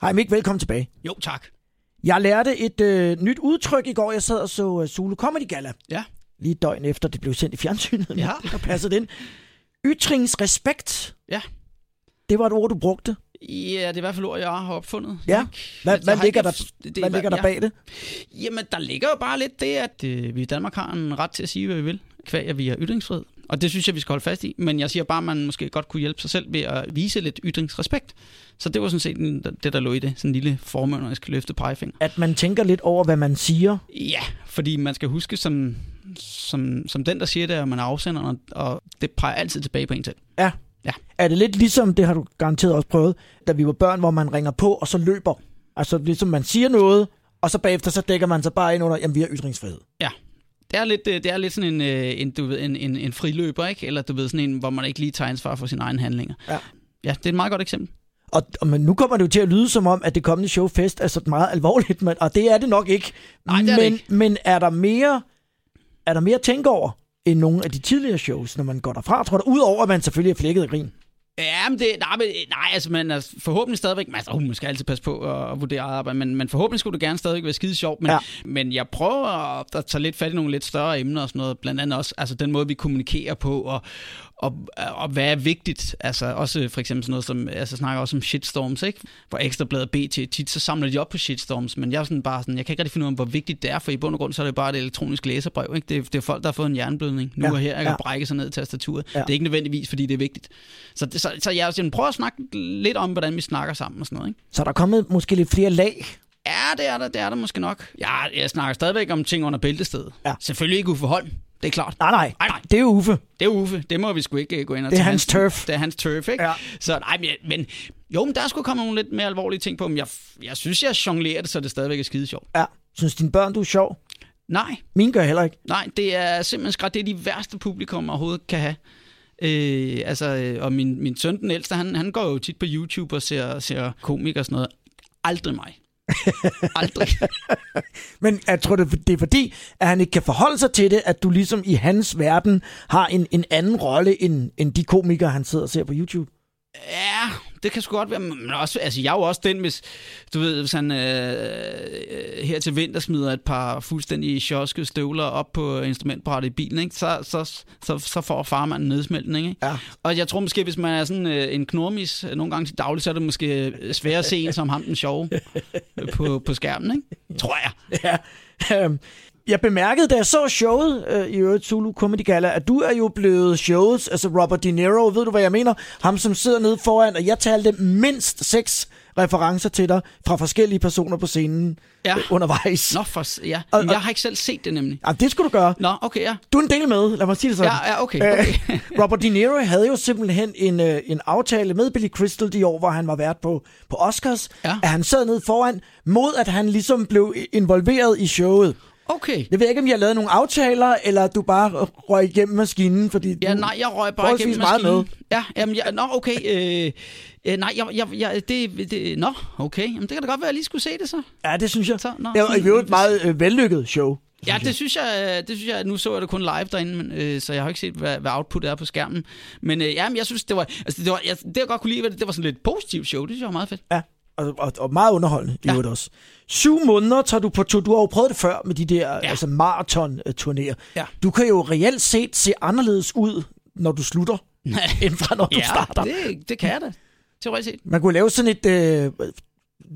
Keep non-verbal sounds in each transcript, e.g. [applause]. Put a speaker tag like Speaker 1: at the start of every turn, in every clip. Speaker 1: Hej Mik, velkommen tilbage.
Speaker 2: Jo, tak.
Speaker 1: Jeg lærte et øh, nyt udtryk i går. Jeg sad og så øh, Zulu Comedy Gala.
Speaker 2: Ja.
Speaker 1: Lige et døgn efter, det blev sendt i fjernsynet. [laughs]
Speaker 2: Ja.
Speaker 1: Der passede det ind. Ytringsrespekt.
Speaker 2: Ja.
Speaker 1: Det var et ord, du brugte.
Speaker 2: Ja, det er i hvert fald ord, jeg har opfundet.
Speaker 1: Ja. Hvad-
Speaker 2: Jeg
Speaker 1: hvad
Speaker 2: har ikke-
Speaker 1: ligger der-
Speaker 2: det-
Speaker 1: Hvad ligger der
Speaker 2: ja.
Speaker 1: bag det?
Speaker 2: Jamen, der ligger jo bare lidt det, at øh, vi i Danmark har en ret til at sige, hvad vi vil, kvæg at vi har ytringsfrihed. Og det synes jeg, vi skal holde fast i. Men jeg siger bare, at man måske godt kunne hjælpe sig selv ved at vise lidt ytringsrespekt. Så det var sådan set den- det, der lå i det. Sådan en lille formønderisk løfte pegefinger.
Speaker 1: At man tænker lidt over, hvad man siger.
Speaker 2: Ja, fordi man skal huske, som, som, som den, der siger det, at man er afsenderen, og- og det peger altid tilbage på en selv.
Speaker 1: Er det lidt ligesom, det har du garanteret også prøvet, da vi var børn, hvor man ringer på, og så løber. Altså ligesom man siger noget, og så bagefter så dækker man sig bare ind under, jamen vi har ytringsfrihed.
Speaker 2: Det er lidt, øh, det er lidt sådan en, øh, en, du ved, en, en, en friløber, ikke? Eller du ved, sådan en, hvor man ikke lige tager ansvar for sine egne handlinger.
Speaker 1: Ja.
Speaker 2: Ja, det er et meget godt eksempel.
Speaker 1: Og, og men nu kommer det jo til at lyde som om, at det kommende show Fest er sådan meget alvorligt, men, og det er det nok ikke.
Speaker 2: Nej, det er det
Speaker 1: men,
Speaker 2: ikke.
Speaker 1: men er der mere, er der mere at tænke over end nogle af de tidligere shows, når man går derfra, tror du? Udover at man selvfølgelig er flækket af grin.
Speaker 2: Ja, men det, nej, men, nej, altså, man er forhåbentlig stadigvæk, man, altså, uh, man skal altid passe på at, at vurdere eget arbejde, men, men forhåbentlig skulle det gerne stadigvæk være skide sjovt, men,
Speaker 1: Ja.
Speaker 2: ja. men jeg prøver at, at tage lidt fat i nogle lidt større emner og sådan noget, blandt andet også altså, den måde, vi kommunikerer på, og, og, og hvad er vigtigt, altså også for eksempel sådan noget som, altså jeg snakker også om shitstorms, ikke? Hvor Ekstrabladet BT tit, så samler de op på shitstorms, men jeg er sådan bare sådan, jeg kan ikke rigtig finde ud af, hvor vigtigt det er, for i bund og grund, så er det bare et elektronisk læserbrev, ikke? Det, er- det er folk, der har fået en hjerneblødning nu
Speaker 1: Ja,
Speaker 2: og her, ikke?
Speaker 1: ja.
Speaker 2: Og brække sig ned i tastaturet.
Speaker 1: Ja.
Speaker 2: Ja. Det er ikke nødvendigvis, fordi det er vigtigt. Så, det, så, så jeg sådan, prøver at snakke lidt om, hvordan vi snakker sammen og sådan noget. Ikke?
Speaker 1: Så er der kommet måske lidt flere lag.
Speaker 2: Ja, det er der, det er der måske nok. Ja, jeg snakker stadigvæk om ting under bæltestedet.
Speaker 1: Ja.
Speaker 2: Selvfølgelig ikke Uffe Holm, det er klart.
Speaker 1: Nej, nej,
Speaker 2: Nej, nej,
Speaker 1: det er Uffe.
Speaker 2: det er Uffe. Det må vi sgu ikke øh, gå ind og
Speaker 1: Det er
Speaker 2: tage
Speaker 1: hans turf.
Speaker 2: Det er hans turf, ikke?
Speaker 1: Ja.
Speaker 2: Så nej, men, men jo, men der skulle komme nogle lidt mere alvorlige ting på, men jeg, jeg synes, jeg jonglerer det, så det stadigvæk er skide sjovt.
Speaker 1: Ja. Synes dine børn, du er sjov?
Speaker 2: Nej,
Speaker 1: Mine gør heller ikke.
Speaker 2: Nej, det er simpelthen skræt. Det er de værste publikum, man overhovedet kan have. Øh, altså, øh, og min, min søn, den ældste, han, han går jo tit på YouTube og ser, ser komik og sådan noget. Aldrig mig. Aldrig.
Speaker 1: Men jeg tror, det det er fordi, at han ikke kan forholde sig til det, at du ligesom i hans verden har en, en anden rolle, end, end de komikere, han sidder og ser på YouTube.
Speaker 2: ja, det kan sgu godt være. Men også, altså, jeg er jo også den, hvis, du ved, hvis han øh, øh, her til vinter smider et par fuldstændig sjoske støvler op på instrumentbrættet i bilen, ikke? Så, så, så, så får farmanden nedsmeltning. Ikke?
Speaker 1: Ja.
Speaker 2: Og jeg tror måske, hvis man er sådan øh, en knormis øh, nogle gange til daglig, så er det måske øh, sværere at se en som ham den sjove
Speaker 1: [laughs]
Speaker 2: øh, på, på skærmen, ikke? Tror jeg.
Speaker 1: Ja. Øhm, Jeg bemærkede, da jeg så showet øh, i øvrigt Zulu Comedy Gala, at du er jo blevet showets, altså Robert De Niro, ved du hvad jeg mener? Ham som sidder nede foran, og jeg talte mindst seks referencer til dig fra forskellige personer på scenen
Speaker 2: Ja.
Speaker 1: øh, undervejs.
Speaker 2: Nå, for, s- ja.
Speaker 1: Og-
Speaker 2: Men jeg har ikke selv set det nemlig.
Speaker 1: Jamen, det skulle du gøre.
Speaker 2: Nå, okay, ja.
Speaker 1: Du er en del med, lad mig sige det sådan.
Speaker 2: Ja, [laughs] ja, okay, okay.
Speaker 1: Øh, Robert De Niro havde jo simpelthen en, øh, en aftale med Billy Crystal de år, hvor han var vært på, på Oscars,
Speaker 2: Ja.
Speaker 1: at han sad nede foran, mod at han ligesom blev involveret i showet.
Speaker 2: Okay.
Speaker 1: Jeg ved ikke, om jeg har lavet nogle aftaler, eller du bare røg igennem maskinen, fordi
Speaker 2: Ja,
Speaker 1: du...
Speaker 2: nej, jeg røg bare
Speaker 1: forholdsvis meget
Speaker 2: igennem maskinen. Ja, jamen, jeg, nå, okay. Øh, øh, nej, jeg, jeg, jeg, det, det, nå, okay. Jamen, det kan da godt være, at jeg lige skulle se det så.
Speaker 1: ja det synes jeg.
Speaker 2: Så, nå,
Speaker 1: det var i
Speaker 2: sådan-
Speaker 1: øvrigt et meget øh, vellykket show.
Speaker 2: Ja, det synes jeg, øh, det synes jeg, nu så jeg det kun live derinde, men, øh, så jeg har ikke set, hvad, hvad output er på skærmen. Men øh, jamen, jeg synes, det var, altså, det var, jeg, det jeg godt kunne lide, var, det, det var sådan lidt positivt show, det synes jeg var meget fedt.
Speaker 1: Ja, og, og, og meget underholdende i
Speaker 2: Ja.
Speaker 1: øvrigt også. Syv måneder tager du på tur. Du har jo prøvet det før med de der ja.
Speaker 2: Ja.
Speaker 1: altså maraton-turnéer.
Speaker 2: Ja.
Speaker 1: Du kan jo reelt set se anderledes ud, når du
Speaker 2: [laughs]
Speaker 1: slutter, end fra når du
Speaker 2: ja,
Speaker 1: starter.
Speaker 2: Det, det kan jeg da, teoretisk set.
Speaker 1: Man kunne lave sådan et... Øh,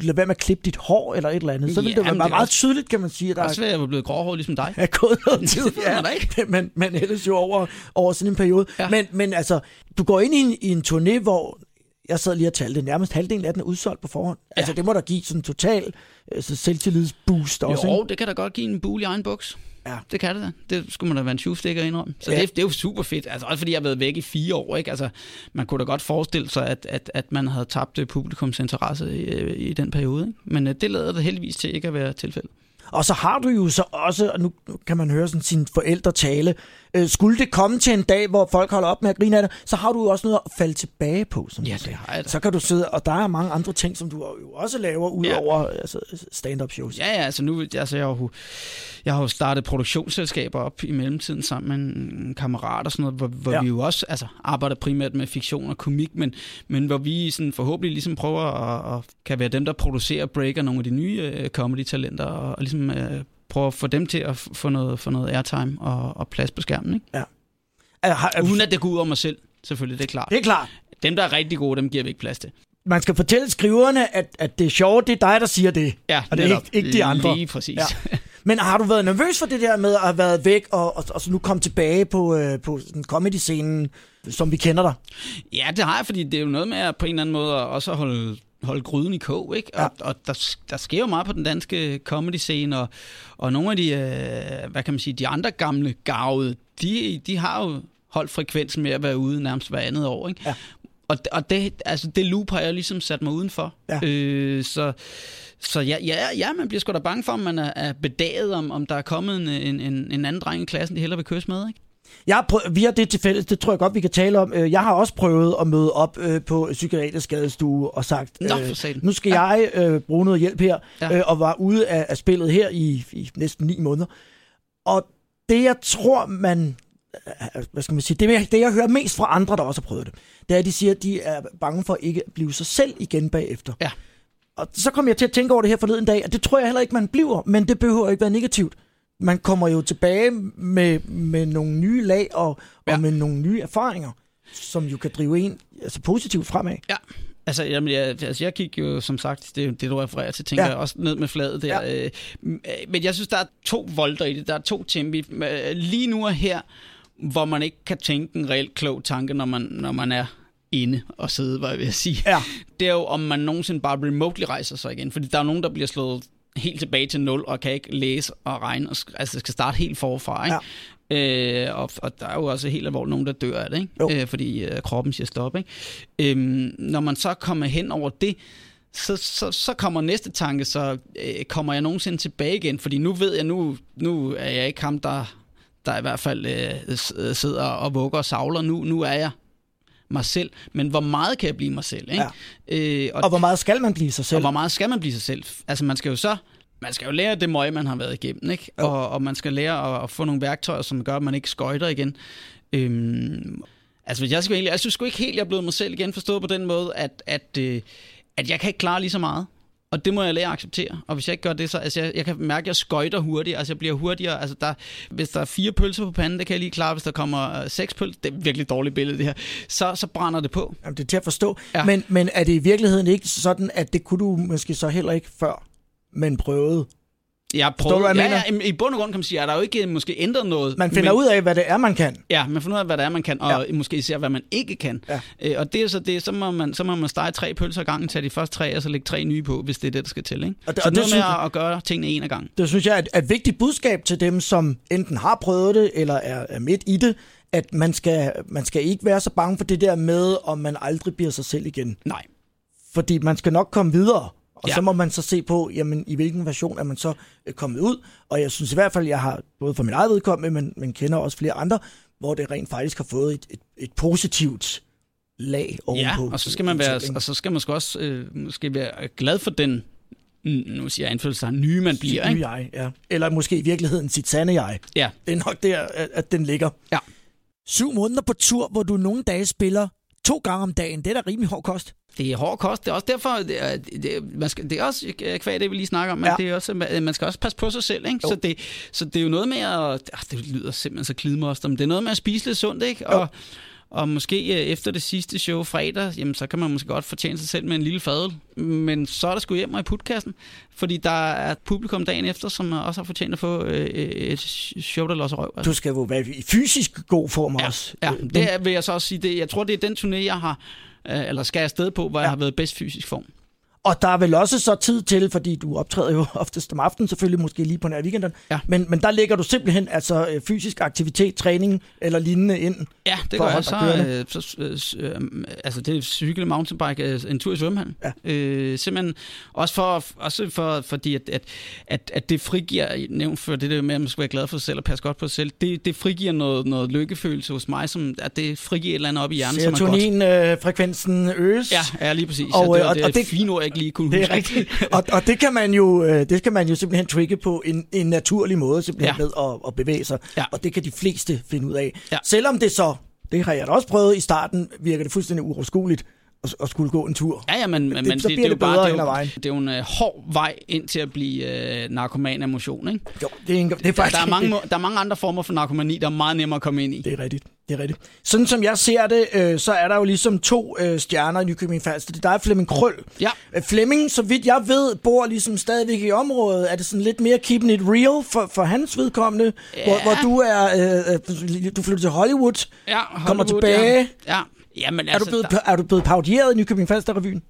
Speaker 1: lad være med at klippe dit hår eller et eller andet. Så ville
Speaker 2: Ja,
Speaker 1: det være
Speaker 2: men det
Speaker 1: meget,
Speaker 2: er
Speaker 1: meget
Speaker 2: også-
Speaker 1: tydeligt, kan man sige, at der
Speaker 2: Det er
Speaker 1: er
Speaker 2: svært, at jeg var blevet gråhåret ligesom dig.
Speaker 1: [laughs] er gået noget tid.
Speaker 2: Det ved man da ikke.
Speaker 1: [laughs] Men, men ellers jo over, over sådan en periode. Ja.
Speaker 2: Ja.
Speaker 1: Men, men altså, du går ind i en, i en turné, hvor jeg sad lige og talte, nærmest halvdelen af den er udsolgt på forhånd. Ja. Altså, det må da give sådan en total altså, selvtillidsboost også,
Speaker 2: Jo,
Speaker 1: ikke?
Speaker 2: det kan da godt give en bule i egen buks.
Speaker 1: Ja.
Speaker 2: Det kan det da. Det skulle man da være en tjuvstikker indrømme. Så
Speaker 1: Ja.
Speaker 2: ja. det, det, er jo super fedt. Altså, også fordi jeg har været væk i fire år. Ikke? Altså, man kunne da godt forestille sig, at, at, at man havde tabt øh, publikums interesse i, øh, i den periode. Ikke? Men øh, det lader det heldigvis til ikke at være tilfældet.
Speaker 1: Og så har du jo så også, og nu kan man høre sådan sine forældre tale, øh, skulle det komme til en dag, hvor folk holder op med at grine af dig, så har du jo også noget at falde tilbage på. Som
Speaker 2: Ja,
Speaker 1: du
Speaker 2: det
Speaker 1: siger.
Speaker 2: har jeg da.
Speaker 1: Så kan du sidde, og der er mange andre ting, som du jo også laver, ud
Speaker 2: Ja.
Speaker 1: over altså, stand-up shows.
Speaker 2: Ja, ja, altså nu, altså jeg har jo, jeg har jo startet produktionsselskaber op i mellemtiden sammen med en- en kammerat og sådan noget, hvor, hvor
Speaker 1: Ja.
Speaker 2: ja. vi jo også altså, arbejder primært med fiktion og komik, men, men hvor vi sådan forhåbentlig ligesom prøver at, at kan være dem, der producerer og breaker nogle af de nye øh, comedy-talenter og, og ligesom øh, prøver at få dem til at f- få noget, få noget airtime og, og plads på skærmen. Ikke?
Speaker 1: Altså, har,
Speaker 2: Uden at det går ud over mig selv, selvfølgelig, det er klart.
Speaker 1: det er klart.
Speaker 2: Dem, der er rigtig gode, dem giver vi ikke plads til.
Speaker 1: Man skal fortælle skriverne, at, at det er sjovt, det er dig, der siger det.
Speaker 2: Ja,
Speaker 1: Og det er
Speaker 2: netop.
Speaker 1: ikke- ikke de andre.
Speaker 2: Lige præcis.
Speaker 1: Ja.
Speaker 2: Ja.
Speaker 1: Men har du været nervøs for det der med at have været væk, og, og, og så nu komme tilbage på, øh, på sådan comedy-scenen, som vi kender dig?
Speaker 2: Ja, det har jeg, fordi det er jo noget med at på en eller anden måde at også at holde, holde gryden i kog, ikke? Og,
Speaker 1: Ja.
Speaker 2: ja. og der, s- der sker jo meget på den danske comedy-scene, og, og nogle af de, øh, hvad kan man sige, de andre gamle gavede, de, de har jo holdt frekvensen med at være ude nærmest hver andet år, ikke?
Speaker 1: Ja.
Speaker 2: Og, og det, altså det loop har jeg ligesom sat mig udenfor.
Speaker 1: Ja.
Speaker 2: Øh, så så ja, ja, ja, man bliver sgu da bange for, om man er, er bedaget, om, om der er kommet en, en, en, en anden dreng i klassen, de hellere vil kysse med. Ikke?
Speaker 1: Jeg har prøvet, vi har det til fælles, det tror jeg godt, vi kan tale om. Øh, Jeg har også prøvet at møde op øh, på psykiatrisk skadestue og sagt,
Speaker 2: Nå, for satan.
Speaker 1: nu skal ja. jeg øh, bruge noget hjælp her, ja.
Speaker 2: Ja.
Speaker 1: øh, og var ude af, af spillet her i, i næsten ni måneder. Og det, jeg tror, man... øh, Hvad skal man sige? Det, jeg- det, jeg hører mest fra andre, der også har prøvet det, det er, at de siger, at de er bange for ikke at blive sig selv igen bagefter.
Speaker 2: Ja.
Speaker 1: Og så kom jeg til at tænke over det her forleden dag, og det tror jeg heller ikke, man bliver, men det behøver ikke være negativt. Man kommer jo tilbage med, med nogle nye lag og, ja.
Speaker 2: Ja.
Speaker 1: og med nogle nye erfaringer, som jo kan drive en altså positivt fremad.
Speaker 2: Ja, altså, jamen, jeg, altså jeg gik jo, som sagt, det er jo det, du refererer til, tænker
Speaker 1: Ja.
Speaker 2: ja. jeg, også ned med fladet der. Ja. Men jeg synes, der er to volter i det, der er to tempi. Øh, Lige nu og her, hvor man ikke kan tænke en reelt klog tanke, når man, når man er inde og sidde, var jeg ved at sige.
Speaker 1: Ja.
Speaker 2: Det er jo, om man nogensinde bare remotely rejser sig igen, fordi der er nogen, der bliver slået helt tilbage til nul, og kan ikke læse og regne, og sk- altså skal starte helt forfra, ikke? Ja. Øh, og, og der er jo også helt alvorligt nogen, der dør af det,
Speaker 1: Jo.
Speaker 2: ikke? Øh, fordi øh, kroppen siger stop. Ikke? Øhm, når man så kommer hen over det, så, så, så kommer næste tanke, så øh, kommer jeg nogensinde tilbage igen, fordi nu ved jeg, nu, nu er jeg ikke ham, der, der i hvert fald øh, s- øh, sidder og vugger og savler. Nu, nu er jeg mig selv, men hvor meget kan jeg blive mig selv? Ikke? Ja. Øh,
Speaker 1: Og hvor meget skal man blive sig selv?
Speaker 2: og hvor meget skal man blive sig selv? Altså man skal jo så man skal jo lære af det møg, man har været igennem, ikke? Og, og man skal lære at, at få nogle værktøjer, som gør, at man ikke skøjter igen. Øhm, altså hvis jeg skal egentlig, jeg synes sgu ikke helt, jeg er blevet mig selv igen, forstået på den måde, at, at, øh, at jeg kan ikke klare lige så meget. Og det må jeg lære at acceptere. Og hvis jeg ikke gør det, så altså jeg, jeg kan mærke, at jeg skøjter hurtigere. Altså jeg bliver hurtigere. Altså der, hvis der er fire pølser på panden, det kan jeg lige klare. Hvis der kommer øh, seks pølser, det er et virkelig dårligt billede det her, så, så brænder det på.
Speaker 1: Jamen, det er til at forstå. Ja.
Speaker 2: Ja.
Speaker 1: Men, men er det i virkeligheden ikke sådan, at det kunne du måske så heller ikke før, men prøvede?
Speaker 2: Jeg
Speaker 1: du,
Speaker 2: prøver,
Speaker 1: hvad jeg
Speaker 2: ja, ja, i bund og grund kan man sige, at der er jo ikke øh, måske ændret noget.
Speaker 1: Man finder
Speaker 2: men,
Speaker 1: men... ud af, hvad det er, man kan.
Speaker 2: Ja, man finder ud af, hvad det er, man kan, og ja. måske især, hvad man ikke kan.
Speaker 1: Ja.
Speaker 2: Øh, og det er så det, så må man, så må man stege tre pølser ad gangen, tage de første tre, og så lægge tre nye på, hvis det er det, der skal til. Ikke?
Speaker 1: Og det-
Speaker 2: Og det, så
Speaker 1: og det
Speaker 2: noget med
Speaker 1: synes-
Speaker 2: at, at gøre tingene en ad gangen.
Speaker 1: Det synes jeg er et, er et vigtigt budskab til dem, som enten har prøvet det, eller er, er midt i det, at man skal, man skal ikke være så bange for det der med, om man aldrig bliver sig selv igen.
Speaker 2: Nej.
Speaker 1: Fordi man skal nok komme videre, og ja.
Speaker 2: Ja.
Speaker 1: så må man så se på, jamen, i hvilken version er man så øh, kommet ud. Og jeg synes i hvert fald, jeg har, både for min eget vedkommende, men, men kender også flere andre, hvor det rent faktisk har fået et, et, et positivt lag
Speaker 2: Ja,
Speaker 1: ovenpå.
Speaker 2: og så skal man være,
Speaker 1: fortællingen.
Speaker 2: og så skal man sgu også øh, måske være glad for den, mm, nu siger jeg anfølgelse, nye man bliver.
Speaker 1: Nye
Speaker 2: Ikke?
Speaker 1: jeg, ja. Eller måske i virkeligheden sit sande jeg.
Speaker 2: Ja,
Speaker 1: Det er nok der, at, at den ligger.
Speaker 2: ja.
Speaker 1: Syv måneder på tur, hvor du nogle dage spiller to gange om dagen. Det er da rimelig hård kost.
Speaker 2: Det er hård kost. Det er også derfor, det er, det, er- man skal, det er også øh, kvad det, vi lige snakker om, men
Speaker 1: Ja.
Speaker 2: ja. det er også, øh, man- man skal også passe på sig selv. Ikke?
Speaker 1: Jo.
Speaker 2: Så, det, så det er jo noget med at... Ah, det lyder simpelthen så klidmost, men det er noget med at spise lidt sundt, ikke? Og, og måske øh, efter det sidste show fredag, jamen, så kan man måske godt fortjene sig selv med en lille fadel. Men så er der sgu hjem og i putkassen, fordi der er et publikum dagen efter, som også har fortjent at få øh, et show, der losser røv. Altså.
Speaker 1: Du skal jo være i fysisk god form ja. også.
Speaker 2: Ja,
Speaker 1: Øh, men-
Speaker 2: det er- vil jeg så også sige. Det, jeg tror, det er den turné, jeg har, øh, eller skal afsted på, hvor
Speaker 1: Ja.
Speaker 2: ja. jeg har været i bedst fysisk form.
Speaker 1: Og der er vel også så tid til, fordi du optræder jo [laughs] oftest om aftenen, selvfølgelig måske lige på nær weekenden,
Speaker 2: Ja.
Speaker 1: men, men der lægger du simpelthen altså øh, fysisk aktivitet, træning eller lignende ind.
Speaker 2: Ja, det
Speaker 1: For
Speaker 2: gør
Speaker 1: at
Speaker 2: jeg.
Speaker 1: holde dig
Speaker 2: Så, øh, så, øh, s- øh, altså, det er cykel, mountainbike, øh, en tur i svømmehallen. Ja. Øh, simpelthen også, for, også for, fordi, at, at, at, at det frigiver, nævnt for det der med, at man skal være glad for sig selv og passe godt på sig selv, det, det frigiver noget, noget lykkefølelse hos mig, som, at det frigiver et eller andet op i hjernen, som er godt.
Speaker 1: Øh, Serotonin-frekvensen øh, øges.
Speaker 2: Ja, ja, lige præcis.
Speaker 1: Og,
Speaker 2: Og, ja, det,
Speaker 1: øh,
Speaker 2: var
Speaker 1: og-
Speaker 2: det,
Speaker 1: og
Speaker 2: det,
Speaker 1: det-
Speaker 2: fine ord, jeg ikke lige kunne
Speaker 1: [laughs] Det
Speaker 2: huske.
Speaker 1: er rigtigt. [laughs] Og, og det, kan man jo, øh, det kan man jo simpelthen trigge på en, en naturlig måde, simpelthen ja.
Speaker 2: Ja.
Speaker 1: ved at, at bevæge sig.
Speaker 2: Ja.
Speaker 1: Og det kan de fleste finde ud af.
Speaker 2: Ja.
Speaker 1: Selvom det så, det har jeg da også prøvet i starten, virker det fuldstændig uoverskueligt at, at skulle gå en tur.
Speaker 2: Ja, ja, men, men
Speaker 1: så bliver
Speaker 2: det, det,
Speaker 1: det
Speaker 2: er jo bare,
Speaker 1: bedre
Speaker 2: det er
Speaker 1: hen ad
Speaker 2: jo,
Speaker 1: vejen.
Speaker 2: det er jo en øh, hård vej ind til at blive øh, narkoman af motion, ikke?
Speaker 1: Jo, det er, en, det er
Speaker 2: Der,
Speaker 1: faktisk...
Speaker 2: der, er mange, må- der er mange andre former for narkomani, der er meget nemmere at komme ind i.
Speaker 1: Det er rigtigt. Det er rigtigt. Sådan som jeg ser det, øh, så er der jo ligesom to øh, stjerner i Nykøbing Falster. Det er dig, og Flemming Krøl.
Speaker 2: Ja.
Speaker 1: Øh, Flemming, så vidt jeg ved, bor ligesom stadigvæk i området. Er det sådan lidt mere keeping it real for, for hans vedkommende? Ja. Hvor, hvor du er, øh, øh, du flytter til Hollywood.
Speaker 2: Ja,
Speaker 1: Kommer
Speaker 2: Hollywood,
Speaker 1: tilbage.
Speaker 2: Ja. ja. Jamen,
Speaker 1: Er
Speaker 2: altså,
Speaker 1: du blevet,
Speaker 2: der,
Speaker 1: er du blevet parodieret i Nykøbing Falster-revyen?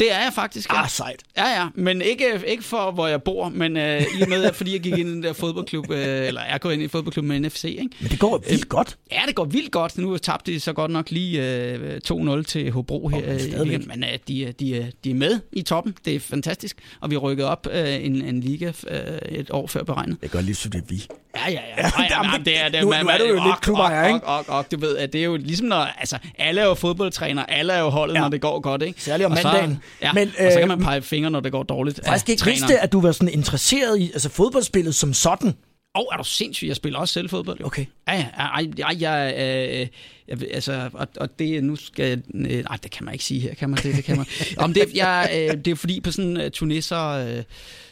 Speaker 2: det er jeg faktisk. Ja.
Speaker 1: Ah, sejt.
Speaker 2: ja, ja. Men ikke, ikke for, hvor jeg bor, men øh, i og med, at fordi jeg gik ind i den der fodboldklub, øh, eller er gået ind i fodboldklubben med NFC, ikke?
Speaker 1: Men det
Speaker 2: Øhm.
Speaker 1: går vildt godt.
Speaker 2: Ja, det går vildt godt. Nu tabte de så godt nok lige øh, 2-0 til Hobro her.
Speaker 1: men
Speaker 2: øh, i
Speaker 1: stadigvæk.
Speaker 2: weekenden, men øh, de, er- de, er- de er med i toppen. Det er fantastisk. Og vi rykkede op øh, en, en liga øh, et år før beregnet.
Speaker 1: Jeg kan godt lide, at det er vi.
Speaker 2: Ja, ja, ja. Ej, jamen,
Speaker 1: jamen,
Speaker 2: det er det.
Speaker 1: nu-
Speaker 2: man-
Speaker 1: nu er du jo
Speaker 2: man-
Speaker 1: lidt
Speaker 2: ok,
Speaker 1: klubejer,
Speaker 2: ok,
Speaker 1: ikke?
Speaker 2: ok, ok, du ved, at det er jo ligesom når... Altså, alle er jo fodboldtræner, alle er jo holdet,
Speaker 1: Ja.
Speaker 2: når det går godt, ikke?
Speaker 1: Særligt om
Speaker 2: Og så-
Speaker 1: mandagen.
Speaker 2: Ja,
Speaker 1: Men,
Speaker 2: men, og så
Speaker 1: øh,
Speaker 2: kan man pege fingre, når det går dårligt. af
Speaker 1: Jeg skal ikke
Speaker 2: træneren.
Speaker 1: vidste, at du var sådan interesseret i altså fodboldspillet som sådan.
Speaker 2: Åh, oh, er du sindssyg? Jeg spiller også selv fodbold. Jo.
Speaker 1: Okay.
Speaker 2: Ja, ja. Ej, ej, jeg, øh, jeg, ved- altså, og, og det, nu skal jeg, øh, nej, det kan man ikke sige her, kan man det, det kan [laughs] man. Om det, jeg, øh, det er fordi på sådan en øh, turné, så, øh,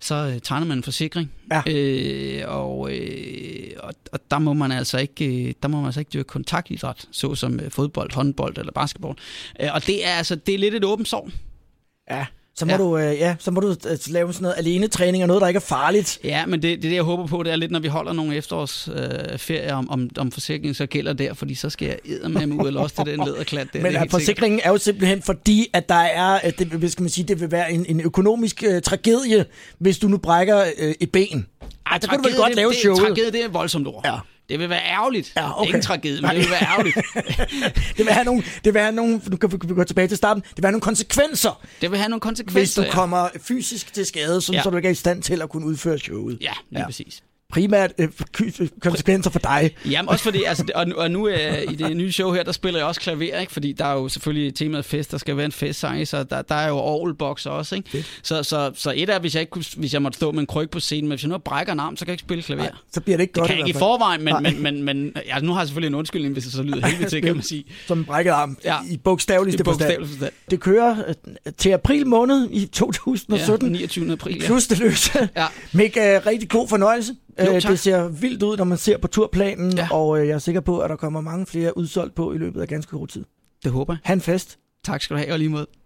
Speaker 2: så øh, tegner man en forsikring,
Speaker 1: Ja.
Speaker 2: øh, og, øh, og, og, der må man altså ikke, øh, der må man altså ikke dyrke kontaktidræt, såsom øh, fodbold, håndbold eller basketball. Øh, og det er altså, det er lidt et åbent sår.
Speaker 1: Ja. Så må,
Speaker 2: Ja.
Speaker 1: Du, øh, ja, så må du øh, lave sådan noget alene-træning og noget, der ikke er farligt.
Speaker 2: Ja, men det, det, er det jeg håber på, det er lidt, når vi holder nogle efterårsferier øh, ferier om, om, om forsikringen, så gælder der, fordi så skal jeg eddermame ud og losse til den læderklat der.
Speaker 1: Men
Speaker 2: det
Speaker 1: er
Speaker 2: er helt sikkert.
Speaker 1: forsikringen er jo simpelthen fordi, at der er, at det, hvad skal man sige, det vil være en, en økonomisk øh, tragedie, hvis du nu brækker øh, et ben. Ej, der kunne du vel
Speaker 2: Tragedie,
Speaker 1: godt lave
Speaker 2: det,
Speaker 1: showet.
Speaker 2: Det, tragedie, det er et voldsomt ord.
Speaker 1: Ja.
Speaker 2: Det vil være ærgerligt.
Speaker 1: Ja,
Speaker 2: Det er
Speaker 1: okay.
Speaker 2: Ikke en tragedie, men det vil være
Speaker 1: [laughs]
Speaker 2: ærgerligt.
Speaker 1: [laughs] det vil have nogle, det vil have nogle, nu kan vi, vi gå tilbage til starten, det vil have nogle konsekvenser,
Speaker 2: det vil have nogle
Speaker 1: hvis
Speaker 2: konsekvenser.
Speaker 1: du kommer fysisk til skade, sådan, ja.
Speaker 2: Ja.
Speaker 1: så du ikke er i stand til at kunne udføre showet.
Speaker 2: Ja, lige
Speaker 1: Ja.
Speaker 2: ja. præcis.
Speaker 1: Primært øh, ky- konsekvenser for dig.
Speaker 2: Jamen også fordi, altså, det- og nu, og nu øh, i det nye show her, der spiller jeg også klaver, ikke? fordi der er jo selvfølgelig temaet fest, der skal være en festsang, ikke? så der, der er jo orgelbox også. Ikke? Så, så, så et er, hvis jeg, ikke kunne, hvis jeg måtte stå med en kryg på scenen, men hvis jeg nu brækker en arm, så kan jeg ikke spille klaver.
Speaker 1: Så bliver det ikke
Speaker 2: Det
Speaker 1: godt.
Speaker 2: kan jeg
Speaker 1: i
Speaker 2: ikke i
Speaker 1: hvert fald.
Speaker 2: forvejen, men,
Speaker 1: Nej.
Speaker 2: men, men, men ja, nu har jeg selvfølgelig en undskyldning, hvis det
Speaker 1: [laughs]
Speaker 2: så lyder helvede til, kan man sige.
Speaker 1: Som en brækket arm, ja.
Speaker 2: Ja.
Speaker 1: i bogstaveligste
Speaker 2: Det er
Speaker 1: forstand.
Speaker 2: bogstaveligt forstand.
Speaker 1: Det kører øh, til april måned i 2017.
Speaker 2: Ja, 29. april. Ja.
Speaker 1: Plus det løse.
Speaker 2: Ja.
Speaker 1: Mik, øh, rigtig god fornøjelse.
Speaker 2: Jo,
Speaker 1: Øh,
Speaker 2: tak.
Speaker 1: det ser vildt ud, når man ser på turplanen, ja.
Speaker 2: Ja.
Speaker 1: og øh, jeg er sikker på, at der kommer mange flere udsolgt på i løbet af ganske kort tid.
Speaker 2: Det håber jeg.
Speaker 1: Han fest.
Speaker 2: Tak skal du have, og lige måde.